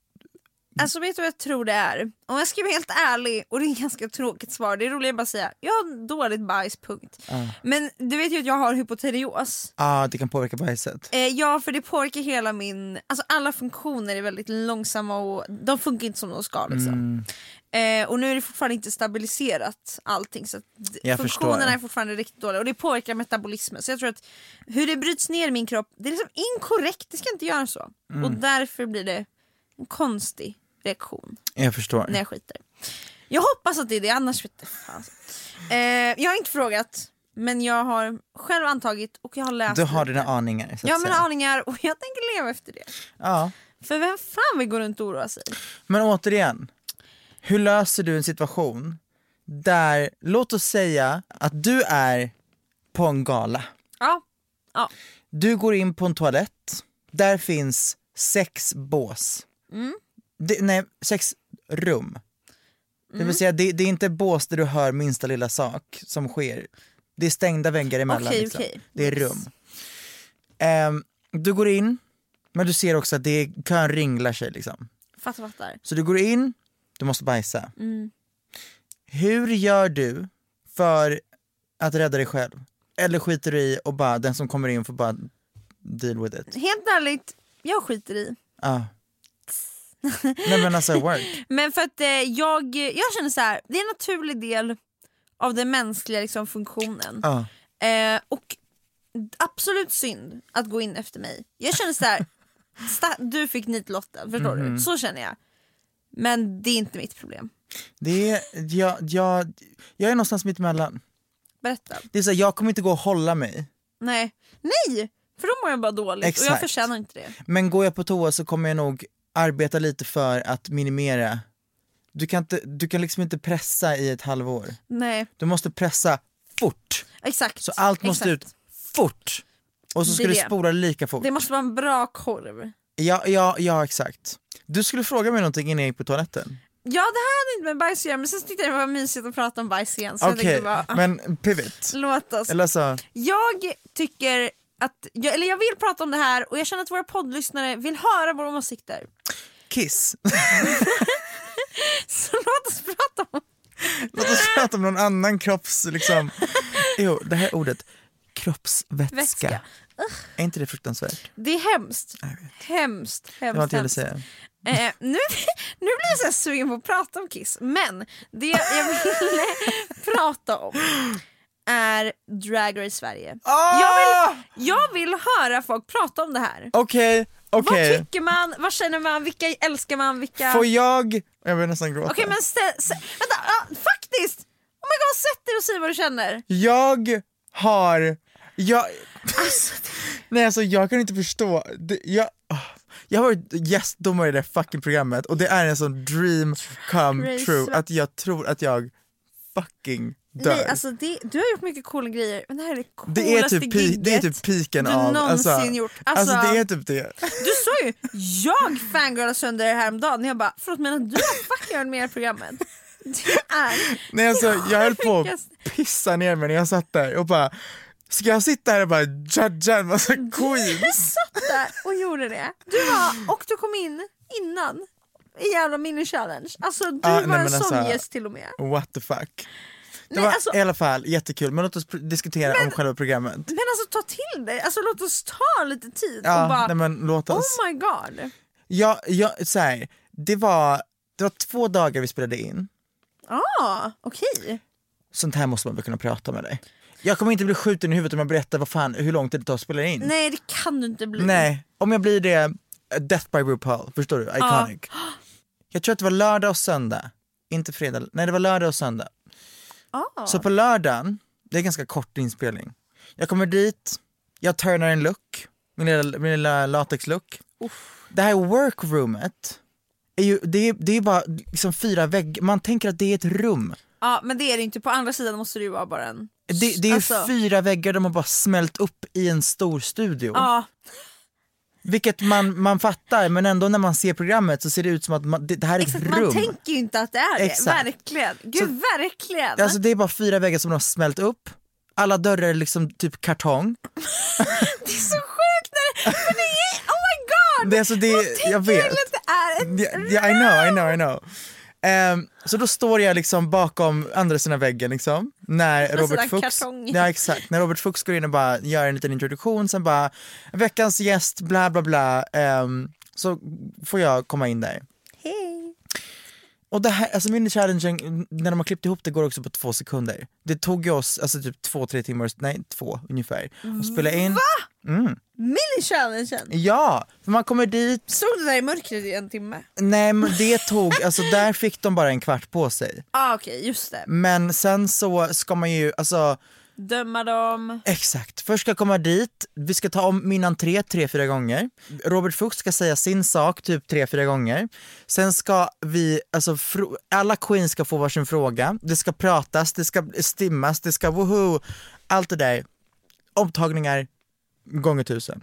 E: Alltså vet du vad jag tror det är? Om jag ska vara helt ärlig, och det är ett ganska tråkigt svar, det är roligare att bara säga jag har dåligt bajs, punkt. Men du vet ju att jag har hypoterios.
C: Ja, det kan påverka bajset.
E: Eh, ja, för det påverkar hela min... Alltså alla funktioner är väldigt långsamma och de funkar inte som de ska. Liksom.
C: Mm.
E: Eh, och nu är det fortfarande inte stabiliserat allting så att d-
C: Jag
E: funktionerna
C: förstår.
E: är fortfarande riktigt dåliga och det påverkar metabolismen. Så jag tror att hur det bryts ner i min kropp, det är liksom inkorrekt, det ska inte göra så.
C: Mm.
E: Och därför blir det en konstig reaktion
C: Jag förstår.
E: när jag skiter. Jag hoppas att det är det, annars vet jag fan. Eh, Jag har inte frågat, men jag har själv antagit och jag har läst
C: Du har
E: lite.
C: dina aningar. Så att
E: Jag har mina
C: säga.
E: aningar och jag tänker leva efter det.
C: Ja.
E: För vem fan vill gå runt och oroa sig?
C: Men återigen, hur löser du en situation där, låt oss säga att du är på en gala.
E: Ja. ja.
C: Du går in på en toalett, där finns sex bås.
E: Mm.
C: Det, nej, sex rum. Det
E: Mm.
C: vill säga det, det är inte bås där du hör minsta lilla sak som sker. Det är stängda väggar emellan.
E: Okej,
C: liksom.
E: okej.
C: Det är rum. Ehm, du går in, men du ser också att det är, kön ringlar sig. Liksom.
E: Fattar, fattar.
C: Så du går in, du måste bajsa. Hur gör du för att rädda dig själv? Eller skiter du i och bara den som kommer in får bara deal with it?
E: Helt ärligt, jag skiter i.
C: Ah. Nej men alltså work.
E: Men för att eh, jag, jag känner så här, det är en naturlig del av den mänskliga liksom, funktionen.
C: Ah.
E: Eh, och absolut synd att gå in efter mig. Jag känner så här, sta- du fick nitlotten, förstår
C: Mhm.
E: du? Så känner jag. Men det är inte mitt problem.
C: Det är, jag, jag, jag är någonstans mitt emellan.
E: Berätta.
C: Det är så här, jag kommer inte gå och hålla mig.
E: Nej, nej! För då mår jag bara dåligt och jag
C: Exakt.
E: förtjänar inte det.
C: Men går jag på toa så kommer jag nog arbeta lite för att minimera. Du kan, inte, du kan liksom inte pressa i ett halvår.
E: Nej,
C: Du måste pressa fort.
E: exakt.
C: Så allt måste
E: exakt.
C: ut fort. Och så ska
E: Det är
C: du
E: det.
C: spola lika fort.
E: Det måste vara en bra korv.
C: Ja, ja, ja exakt. Du skulle fråga mig någonting innan jag gick på toaletten.
E: Ja det här hade inte med bajs att göra men sen tyckte jag det var mysigt att prata om bajs igen så jag
C: Okej,
E: tänkte bara, ah,
C: men pivot.
E: låt oss.
C: Eller så,
E: Jag tycker att, jag, eller jag vill prata om det här och jag känner att våra poddlyssnare vill höra våra åsikter.
C: kiss.
E: Så låt oss prata om
C: Låt oss prata om någon annan kropps... Liksom. Jo, det här ordet. Kroppsvätska.
E: vätska.
C: Är inte det fruktansvärt?
E: Det är hemskt. Hemskt,
C: Det var
E: hemskt.
C: inte jag ville
E: hemskt.
C: säga.
E: Eh, nu, nu blir jag så här sugen på att prata om Kiss, men det jag ville prata om är Drag Race Sverige.
C: Ah!
E: Jag, vill, jag vill höra folk prata om det här.
C: Okej, okej.
E: Vad tycker man, vad känner man, vilka älskar man, vilka...
C: Får
E: Okej
C: jag... Jag börjar nästan gråta.
E: men stä, stä, vänta, ah, faktiskt! Oh my god, sätt dig och säg vad du känner.
C: Jag har... Jag... Nej alltså jag kan inte förstå. Det, jag... ah. Jag har varit gästdomare i det här fucking programmet och det är en sån dream come
E: Race.
C: true att jag tror att jag fucking dör.
E: Nej, alltså det, du har gjort mycket coola grejer, men det här är det coolaste
C: det, är typ pi-
E: gigget.
C: det är typ piken
E: du
C: av...
E: någonsin
C: alltså,
E: gjort.
C: Alltså,
E: Alltså-
C: det är typ det.
E: Du sa ju jag fangirlade sönder det här om dagen jag bara förlåt men du har fucking varit med i programmet. Det är
C: Nej alltså jag höll på
E: sjukaste.
C: att pissa ner mig när jag satt där och bara Ska jag sitta här och bara judga en massa
E: Du
C: queens?
E: satt där och gjorde det. Du var, och du kom in innan i jävla mini-challenge. Alltså du
C: Ah,
E: var
C: nej,
E: en
C: men
E: sån
C: alltså-
E: gäst till och med.
C: What the fuck. Det
E: Nej,
C: var
E: alltså-
C: i alla fall jättekul men låt oss pr- diskutera om själva programmet.
E: Men alltså ta till dig, alltså låt oss ta lite tid
C: Ja,
E: och bara
C: nej, men låt oss.
E: oh my god.
C: Ja, ja, så här, det, var, det var två dagar vi spelade in,
E: Ah, okej.
C: sånt här måste man väl kunna prata med dig. Jag kommer inte bli skjuten i huvudet om jag berättar vad fan, hur lång tid det tar att spela in.
E: Nej det kan du inte bli.
C: Nej, om jag blir det, eh, Death by RuPaul, förstår du? Iconic. Jag tror att det var lördag och söndag, inte fredag, nej det var lördag och söndag.
E: Ah.
C: Så på lördagen, det är ganska kort inspelning, jag kommer dit, jag turnar en look, min lilla, min lilla latexlook. Det här workroomet, är ju, det, är, det är bara liksom fyra väggar, man tänker att det är ett rum.
E: Ja, men det är det inte, på andra sidan måste det ju vara bara en...
C: Det, det är
E: Alltså.
C: fyra väggar de har bara smält upp i en stor studio.
E: Ja,
C: Vilket man, man fattar, men ändå när man ser programmet så ser det ut som att man, det, det här är
E: Exakt,
C: ett
E: man
C: rum.
E: tänker ju inte att det är
C: Exakt.
E: det. Verkligen. Gud, verkligen.
C: Alltså det är bara fyra väggar som de har smält upp, alla dörrar är liksom typ kartong.
E: det är så sjukt när det, för det är, oh my god!
C: Det, är alltså, det,
E: Tänker
C: jag vet.
E: verkligen att det är ett
C: Ja, ja, I know, I know, I know. Ehm, så då står jag liksom bakom andra sidan väggen liksom, när Robert
E: sidan
C: Fuchs,
E: kartong.
C: ja, exakt, när Robert Fuchs går in och bara gör en liten introduktion, sen bara veckans gäst bla bla bla, ehm, så får jag komma in där.
E: Hej.
C: Och det här, alltså mini-challengen, när de har klippt ihop det går också på två sekunder. Det tog ju oss alltså typ två, tre timmar, nej två ungefär, att spela in.
E: Mini-challengen.
C: Ja, för man kommer dit,
E: Stod du där i mörkret i en timme?
C: nej men det tog, alltså där fick de bara en kvart på sig. Mm.
E: Ja ah, okej, just det.
C: Men sen så ska man ju, alltså
E: döma dem.
C: Exakt. Först ska jag komma dit, vi ska ta om min entré tre, fyra gånger. Robert Fuchs ska säga sin sak typ tre, fyra gånger. Sen ska vi, alltså fr- alla queens ska få varsin fråga. Det ska pratas, det ska stimmas, det ska woho, allt det där. Omtagningar gånger tusen.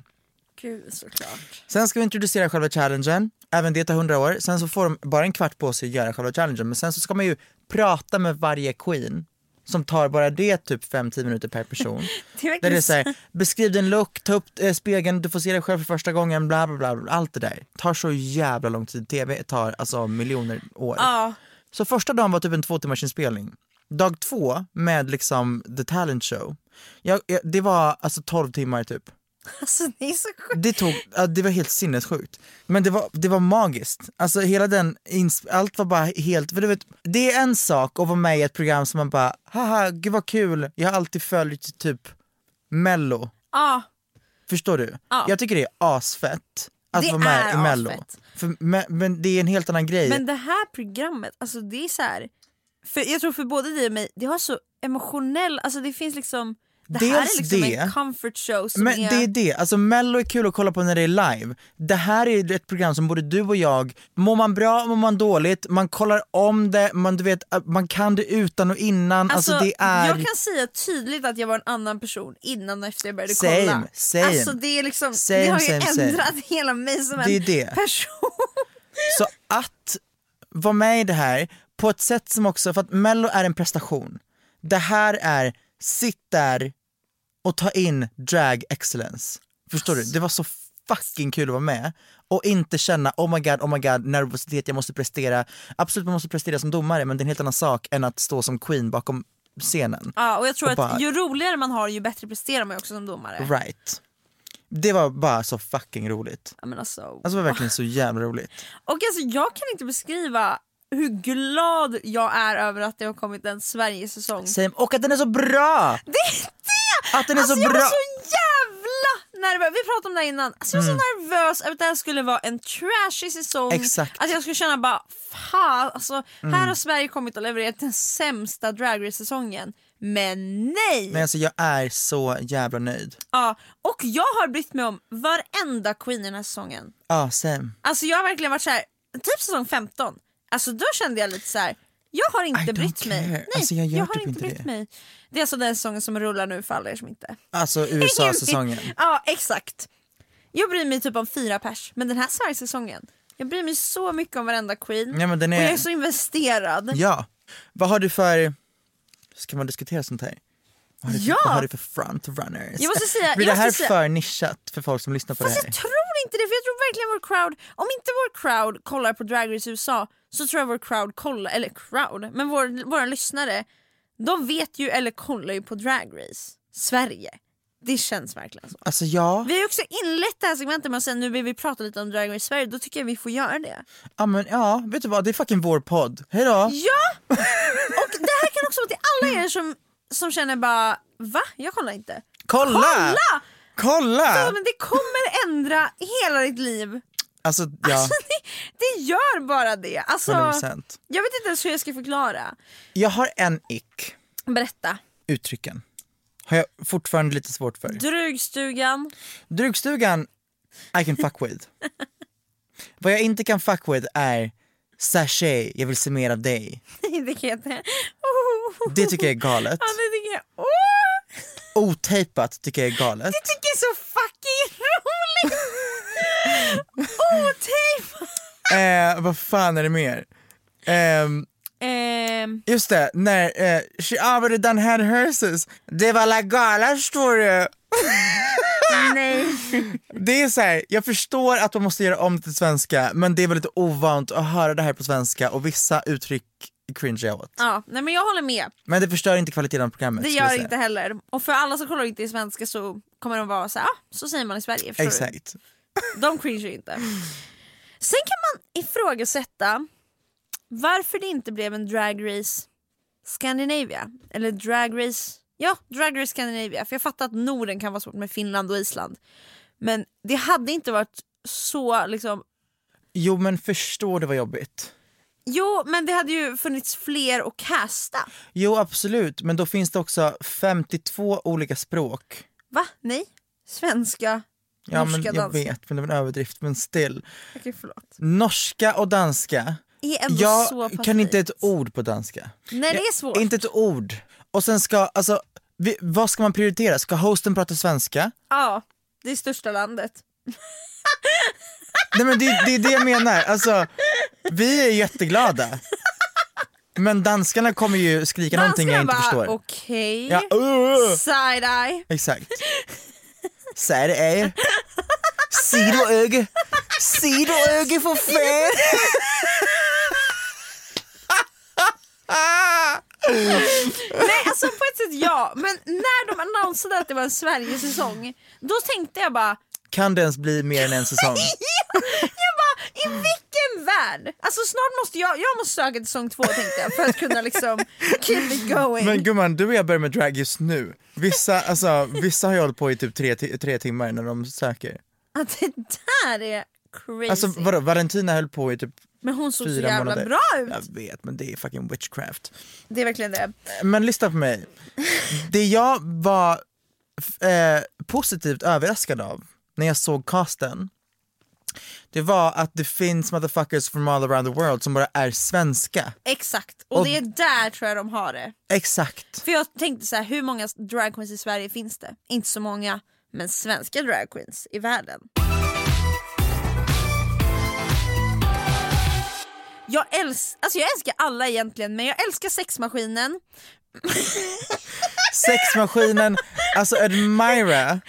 E: Gud såklart.
C: Sen ska vi introducera själva challengen, även det tar 100 år. Sen så får de bara en kvart på sig att göra själva challengen, men sen så ska man ju prata med varje queen som tar bara det typ 5-10 minuter per person.
E: Det är
C: Där det är
E: verkligen
C: så här, beskriv din look, ta upp eh, spegeln, du får se dig själv för första gången, bla bla bla, bla. allt det där. Tar så jävla lång tid, tv tar alltså miljoner år.
E: Ja,
C: Så första dagen var typ en två timmars inspelning. Dag två med liksom the talent show, jag, jag, det var alltså 12 timmar typ.
E: alltså det är så sjukt.
C: Det, tog, ja, det var helt sinnessjukt. Men det var, det var magiskt. Alltså hela den, ins- allt var bara helt, för du vet, det är en sak att vara med i ett program som man bara, haha, gud vad kul, jag har alltid följt typ mello.
E: Ja,
C: Förstår du?
E: Ja.
C: Jag tycker det är asfett att
E: Det
C: vara med
E: är
C: i mello.
E: asfett.
C: För, men, men det är en helt annan grej.
E: men det här programmet, alltså det är så här. För jag tror för både dig och mig, det har så emotionell, alltså det finns liksom det här
C: Dels
E: är liksom en
C: det,
E: comfort show som
C: Men
E: är...
C: det är det, alltså mello är kul att kolla på när det är live. Det här är ju ett program som både du och jag, mår man bra, mår man dåligt, man kollar om det, man, du vet, man kan det utan och innan. Alltså, det är...
E: Jag kan säga tydligt att jag var en annan person innan och efter jag började
C: Same,
E: kolla.
C: same.
E: Alltså det, är liksom, det
C: Same,
E: har ju
C: same, same.
E: ändrat hela mig som
C: Det är
E: en
C: det.
E: person.
C: Så att vara med i det här på ett sätt som också, för att mello är en prestation. Det här är, sitt där och ta in drag excellence. Förstår du? Det var så fucking kul att vara med och inte känna oh my god, oh my god, nervositet, jag måste prestera. Absolut man måste prestera som domare men det är en helt annan sak än att stå som queen bakom scenen.
E: Ja, och jag tror
C: Och bara-
E: att ju roligare man har ju bättre presterar man ju också som domare.
C: Right. Det var bara så fucking roligt.
E: Ja, men alltså,
C: Alltså det var verkligen så jävla roligt.
E: Och alltså, jag kan inte beskriva hur glad jag är över att det har kommit en Sverigesäsong.
C: Same. Och att den är så bra!
E: Det är det!
C: Att den är
E: alltså,
C: så
E: jag
C: bra!
E: var så jävla nervös, vi pratade om det här innan. Alltså, jag var så nervös över att det här skulle vara en trashig säsong.
C: Mm. Exakt. Mm.
E: Att jag skulle känna bara, fan alltså, här har Sverige kommit och levererat den sämsta Drag Race-säsongen. Men nej!
C: Men alltså jag är så jävla nöjd.
E: Ja, och jag har brytt mig om varenda queen i den här säsongen.
C: Ja, same.
E: Alltså jag har verkligen varit så här, typ säsong 15, alltså då kände jag lite så här. Jag har
C: I
E: inte
C: don't
E: brytt mig.
C: care.
E: Nej,
C: Alltså, jag gör
E: har
C: typ
E: inte
C: inte
E: brytt
C: det.
E: mig. Det är alltså den säsongen som rullar nu för alla er som inte...
C: Alltså USA-säsongen.
E: ja, exakt. Jag bryr mig typ om fyra pers, men den här Sverige-säsongen, jag bryr mig så mycket om varenda queen.
C: Ja, men den
E: Och jag
C: är...
E: är så investerad.
C: Ja. Vad har du för... Ska man diskutera sånt här? Vad har du,
E: Ja.
C: vad har du för frontrunners?
E: Jag måste säga-
C: Blir
E: jag
C: det här
E: måste säga-
C: för nischat för folk som lyssnar på
E: Fast
C: det
E: jag
C: här?
E: tror inte det, för jag tror verkligen vår crowd, om inte vår crowd kollar på Drag Race USA så tror jag vår crowd kollar, eller crowd, men vår, våra lyssnare, de vet ju eller kollar ju på Drag Race Sverige. Det känns verkligen så.
C: Alltså ja,
E: Vi har ju också inlett det här segmentet med att säga nu vill vi prata lite om Drag Race Sverige, då tycker jag vi får göra det.
C: ja, men, ja, vet du vad? Det är fucking vår podd. Hejdå!
E: Ja! Och det här kan också vara till alla er som, som känner bara va? Jag kollar inte.
C: Kolla!
E: Kolla!
C: Kolla!
E: Ja, men det kommer ändra hela ditt liv.
C: Alltså ja,
E: Alltså, det, det gör bara det. Alltså,
C: 100%.
E: Jag vet inte ens hur jag ska förklara.
C: Jag har en ick,
E: Berätta.
C: uttrycken. Har jag fortfarande lite svårt för.
E: Drugstugan.
C: Drugstugan, I can fuck with. Vad jag inte kan fuck with är sachet, jag vill se mer av dig.
E: Nej, det kan jag inte. Oh.
C: Det tycker jag är galet.
E: Ja, det tycker jag. Åh!
C: Otejpat tycker jag är galet.
E: Det tycker jag är så fucking roligt! Otejpat!
C: Eh, vad fan är det mer? Ehm,
E: Ehm,
C: just det, när eh, she already done had herses. Det var la gala står det.
E: nej.
C: Det är så här, jag förstår att man måste göra om det till svenska men det är väl lite ovant att höra det här på svenska och vissa uttryck cringear jag åt.
E: Ja, nej men jag håller med.
C: Men det förstör inte kvaliteten av programmet.
E: Det
C: skulle jag
E: gör
C: säga.
E: inte heller. Och för alla som kollar inte i svenska så kommer de vara så här, ah, så säger man i Sverige. förstår du?
C: Exakt.
E: De cringear inte. Sen kan man ifrågasätta varför det inte blev en Drag Race Scandinavia. Eller Drag Race... Ja, Drag Race Scandinavia. För jag fattar att Norden kan vara svårt med Finland och Island. Men det hade inte varit så liksom...
C: Jo men förstår du vad jobbigt?
E: Jo, men det hade ju funnits fler att casta.
C: Jo absolut, men då finns det också 52 olika språk.
E: Va? Nej? Svenska?
C: Ja
E: norska
C: men jag
E: danser.
C: vet, men det var en överdrift, men still.
E: Okej, förlåt.
C: Norska och danska.
E: Är ändå så
C: Jag
E: pass
C: kan inte
E: likt.
C: ett ord på danska.
E: Nej, det
C: Jag-
E: är svårt.
C: Inte ett ord. Och sen ska, alltså, vi, vad ska man prioritera? Ska hosten prata svenska?
E: Ja, det är största landet.
C: Nej men det, det är det jag menar, alltså vi är jätteglada. Men danskarna kommer ju skrika någonting jag
E: Danskarna
C: inte förstår.
E: bara okej,
C: Ja, uh,
E: side-eye.
C: exakt. Så är det är. Sidoöge. Sidoöge för fan.
E: Nej, alltså på ett sätt ja, men när de annonsade att det var en Sverigesäsong, då tänkte jag bara
C: Kan det ens bli mer än en säsong?
E: jag bara, i vilken värld? Alltså snart måste jag, jag måste söka till säsong två tänkte jag för att kunna liksom keep it going.
C: Men gumman, du och jag börjar med drag just nu. Vissa, alltså, vissa har ju hållit på i typ tre, ti- tre timmar när de söker.
E: Att det där är crazy.
C: Alltså vadå, Valentina höll på i typ
E: men hon såg så
C: fyra
E: jävla
C: månader.
E: bra ut.
C: Jag vet, men det är fucking witchcraft.
E: Det är verkligen det.
C: Men lyssna på mig. Det jag var f- eh, positivt överraskad av när jag såg casten, det var att det finns motherfuckers from all around the world som bara är svenska.
E: Exakt, och, det är där tror jag de har det.
C: Exakt.
E: För jag tänkte så här, hur många drag queens i Sverige finns det? Inte så många, men svenska drag queens i världen. Jag, älsk, alltså jag älskar alla egentligen, men jag älskar sexmaskinen.
C: Sexmaskinen, alltså Admira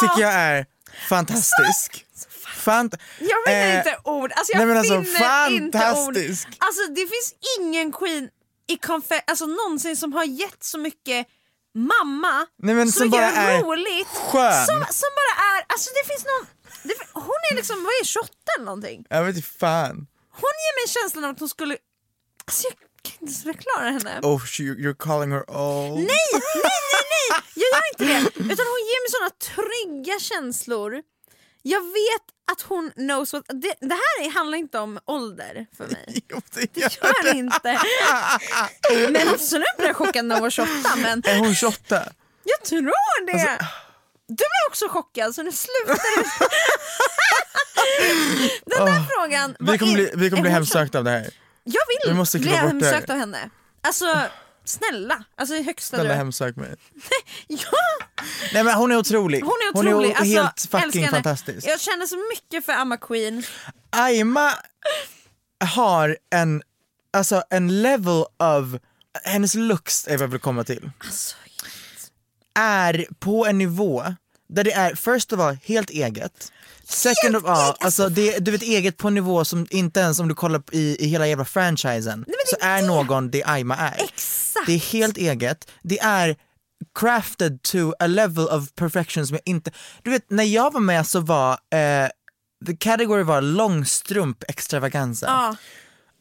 C: tycker jag är fantastisk. Fant-
E: Jag finner
C: eh,
E: inte ord. Alltså jag
C: nej, men alltså,
E: finner
C: fantastisk.
E: inte ord. Alltså det finns ingen queen i konfe- alltså, någonsin som har gett så mycket mamma,
C: Nej, men
E: så
C: som
E: mycket
C: bara är
E: roligt.
C: skön.
E: Som, som bara är, alltså det finns någon, det, fin- hon är liksom, vad är 28 eller någonting?
C: Jag vet inte fan.
E: Hon ger mig känslan av att hon skulle, alltså jag kan inte ens förklara henne.
C: Oh, she, you're calling her old.
E: Nej, nej, nej, nej! Jag gör inte det. Utan hon ger mig såna trygga känslor. Jag vet att hon knows what... Det, det här är- handlar inte om ålder för mig.
C: Jo, det
E: Det gör det inte. Men absolut blev jag chockad när hon var 28. Men
C: Är hon 28?
E: jag tror det.
C: Alltså-
E: Du blev också chockad så nu slutar du. Den där frågan var
C: Vi kommer
E: in-
C: bli, vi kommer bli
E: är hon
C: hemsökta av det här.
E: Jag vill
C: Vi måste
E: bli
C: klippa bort det här.
E: hemsökt av henne. Alltså snälla, alltså i högsta
C: Snälla
E: dröm.
C: hemsök mig.
E: Ja!
C: Nej men hon är otrolig.
E: Hon är otrolig.
C: o-
E: alltså,
C: helt
E: älskar
C: fucking
E: henne.
C: fantastisk.
E: Jag känner så mycket för Amma Queen.
C: Aima har en, alltså en level of, hennes looks är vad jag vill komma till,
E: Alltså,
C: är på en nivå där det är first of all helt eget, second of all, alltså det, du vet eget på en nivå som inte ens om du kollar i, i hela jävla franchisen så är någon det Aima är.
E: exakt.
C: Det är helt eget. Det är crafted to a level of perfection som jag inte... Du vet, när jag var med så var... Eh, the category var långstrump extravaganza.
E: Ja.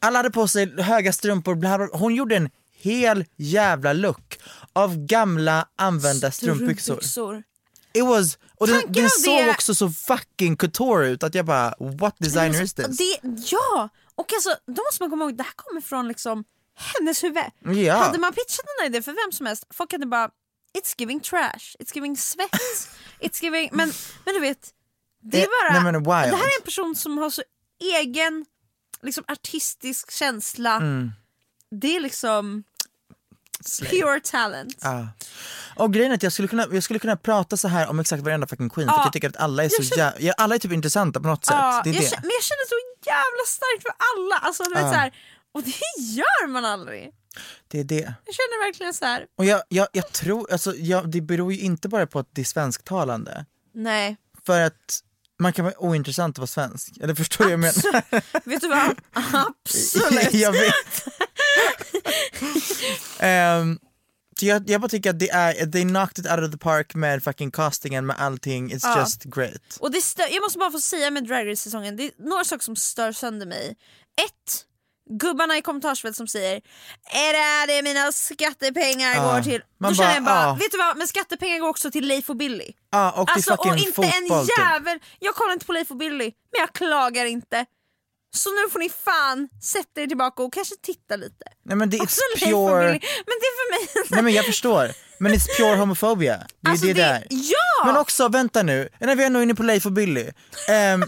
C: Alla hade på sig höga strumpor, bla bla. hon gjorde en hel jävla look av gamla använda strumpbyxor.
E: Strumpbyxor.
C: It was, och den,
E: Tanken
C: den
E: av
C: såg
E: det-
C: också så fucking couture ut att jag bara, what designer is this?
E: Det, ja, och alltså, då måste man komma ihåg det här kommer från liksom hennes huvud.
C: Ja.
E: Hade man pitchat den här idén för vem som helst, folk hade bara It's giving trash, it's giving svett, it's giving... Men, men du vet, det är
C: Eh,
E: bara...
C: nej, men wild.
E: Det här är en person som har så egen liksom, artistisk känsla.
C: Mm.
E: Det är liksom pure talent.
C: Ja. Och grejen är att jag skulle, kunna, jag skulle kunna prata så här om exakt varenda fucking queen för
E: Ja.
C: att jag tycker att alla är så
E: Jag känner-
C: jä- ja, alla är typ intressanta på något sätt.
E: Ja,
C: det är
E: jag
C: det.
E: kä- men jag känner så jävla starkt för alla. Alltså, du vet, så här, och det gör man aldrig.
C: det är det.
E: Jag känner verkligen så här.
C: Och jag, jag, jag tror, alltså jag, det beror ju inte bara på att det är svensktalande.
E: Nej.
C: För att man kan vara ointressant att vara svensk. Eller förstår du vad jag menar?
E: Absolut. Vet du vad? Absolut.
C: jag vet. Ehm, så jag, jag bara tycker att det är, they knocked it out of the park med fucking castingen, med allting. It's
E: Ja.
C: just great.
E: Och det stör, jag måste bara få säga med Drag Race-säsongen, det är några saker som stör sönder mig. Ett, gubbarna i kommentarsfältet som säger är det här det mina skattepengar
C: Ja.
E: går till?
C: Man
E: Då känner
C: bara,
E: jag bara,
C: ja.
E: vet du vad, men skattepengar går också till Leif och Billy.
C: Ja, och till
E: Alltså och
C: fucking
E: inte
C: fotboll
E: en
C: typ.
E: jävel, jag kollar inte på Leif och Billy men jag klagar inte. Så nu får ni fan sätta er tillbaka och kanske titta lite.
C: Nej men det är
E: Alltså,
C: it's
E: Leif och
C: pure...
E: Billy, Men det är för mig...
C: Nej men jag förstår, men it's pure homophobia. Det är
E: Alltså,
C: det,
E: det-
C: där.
E: ja!
C: Men också, vänta nu, när vi är nog inne på Leif och Billy. Ehm,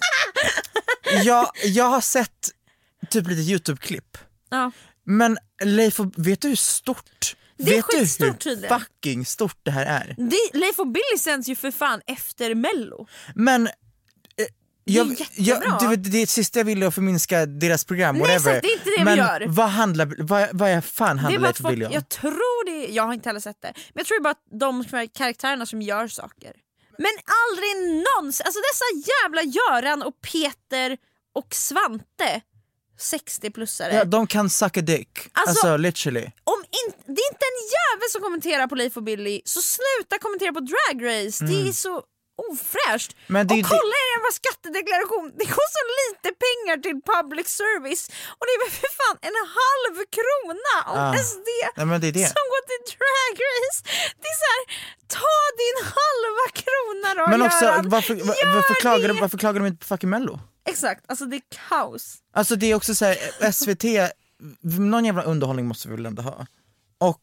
C: jag, jag har sett typ lite Youtube-klipp,
E: ja.
C: men Leif och, vet du hur stort?
E: Det är
C: vet du hur
E: skitstort tydligen.
C: fucking stort det här är?
E: det, Leif och Billy sänds ju för fan efter mello.
C: Men eh, jag,
E: jättebra.
C: jag, du, vet, det är det sista jag ville att förminska deras program,
E: Nej,
C: whatever.
E: exakt, det är inte det vi
C: men
E: gör.
C: vad handlar, vad, vad är fan
E: Det är
C: handlar
E: bara
C: Leif
E: att
C: och
E: folk,
C: Billy om?
E: jag tror det, jag har inte heller sett det, men jag tror det är bara att de som är karaktärerna som gör saker. Men aldrig någonsin, alltså dessa jävla Göran och Peter och Svante, 60-plussare.
C: Ja, de kan suck a dick,
E: Alltså-
C: alltså literally.
E: Om in, det är inte en jävel som kommenterar på Leif och Billy, så sluta kommentera på Drag Race, det är så ofräscht.
C: Mm. Men det är ju
E: och
C: det-
E: kolla er jävla skattedeklaration, det går så lite pengar till public service och det är väl för fan en halv krona om
C: Ah.
E: ens det.
C: Nej, men det är det.
E: som går till Drag Race. Det är så här, ta din halva krona då
C: Men också,
E: Göran.
C: varför, var,
E: Gör
C: varför, klagar de,
E: det!
C: varför klagar de inte på fucking mello?
E: Exakt, alltså det är kaos.
C: Alltså det är också så här, SVT, någon jävla underhållning måste vi väl ändå ha? Och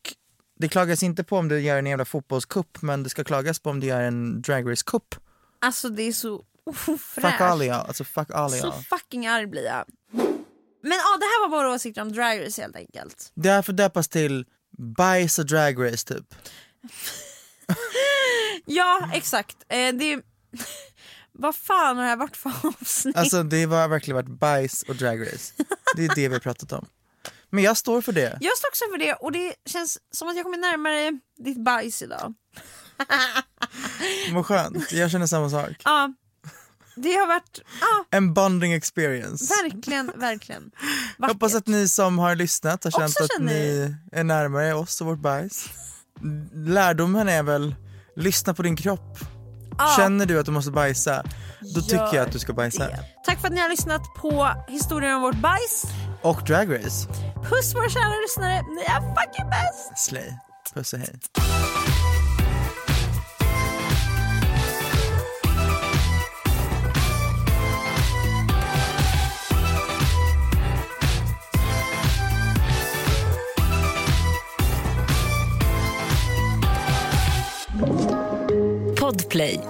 C: det klagas inte på om du gör en jävla fotbollskupp men det ska klagas på om du gör en dragrace-kupp.
E: Alltså det är så
C: Fuck all
E: ofräscht.
C: y'all, alltså fuck all
E: Så
C: y'all.
E: fucking arg blir jag. Men ja, det här var våra åsikter om Drag Race helt enkelt.
C: Det här får döpas till bajs och dragrace typ.
E: Ja, exakt. Eh, det är... Vad fan har det här varit för avsnitt?
C: Alltså det har verkligen varit bajs och dragrace. Det är det vi har pratat om. Men jag står för det.
E: Jag står också för det och det känns som att jag kommer närmare ditt bajs idag.
C: Vad skönt, jag känner samma sak.
E: Ja, det har varit... Ja,
C: En bonding experience.
E: verkligen, verkligen.
C: Jag hoppas att ni som har lyssnat har
E: Också
C: känt att
E: känner-
C: ni är närmare oss och vårt bajs. Lärdomen är väl, lyssna på din kropp.
E: Ja.
C: Känner du att du måste bajsa, då tycker jag att du ska bajsa.
E: det. Tack för att ni har lyssnat på historien om vårt bajs.
C: Och Drag Race,
E: Puss våra kära lyssnare, ni är fucking bäst!
C: slay. Puss och hej.
D: Podplay.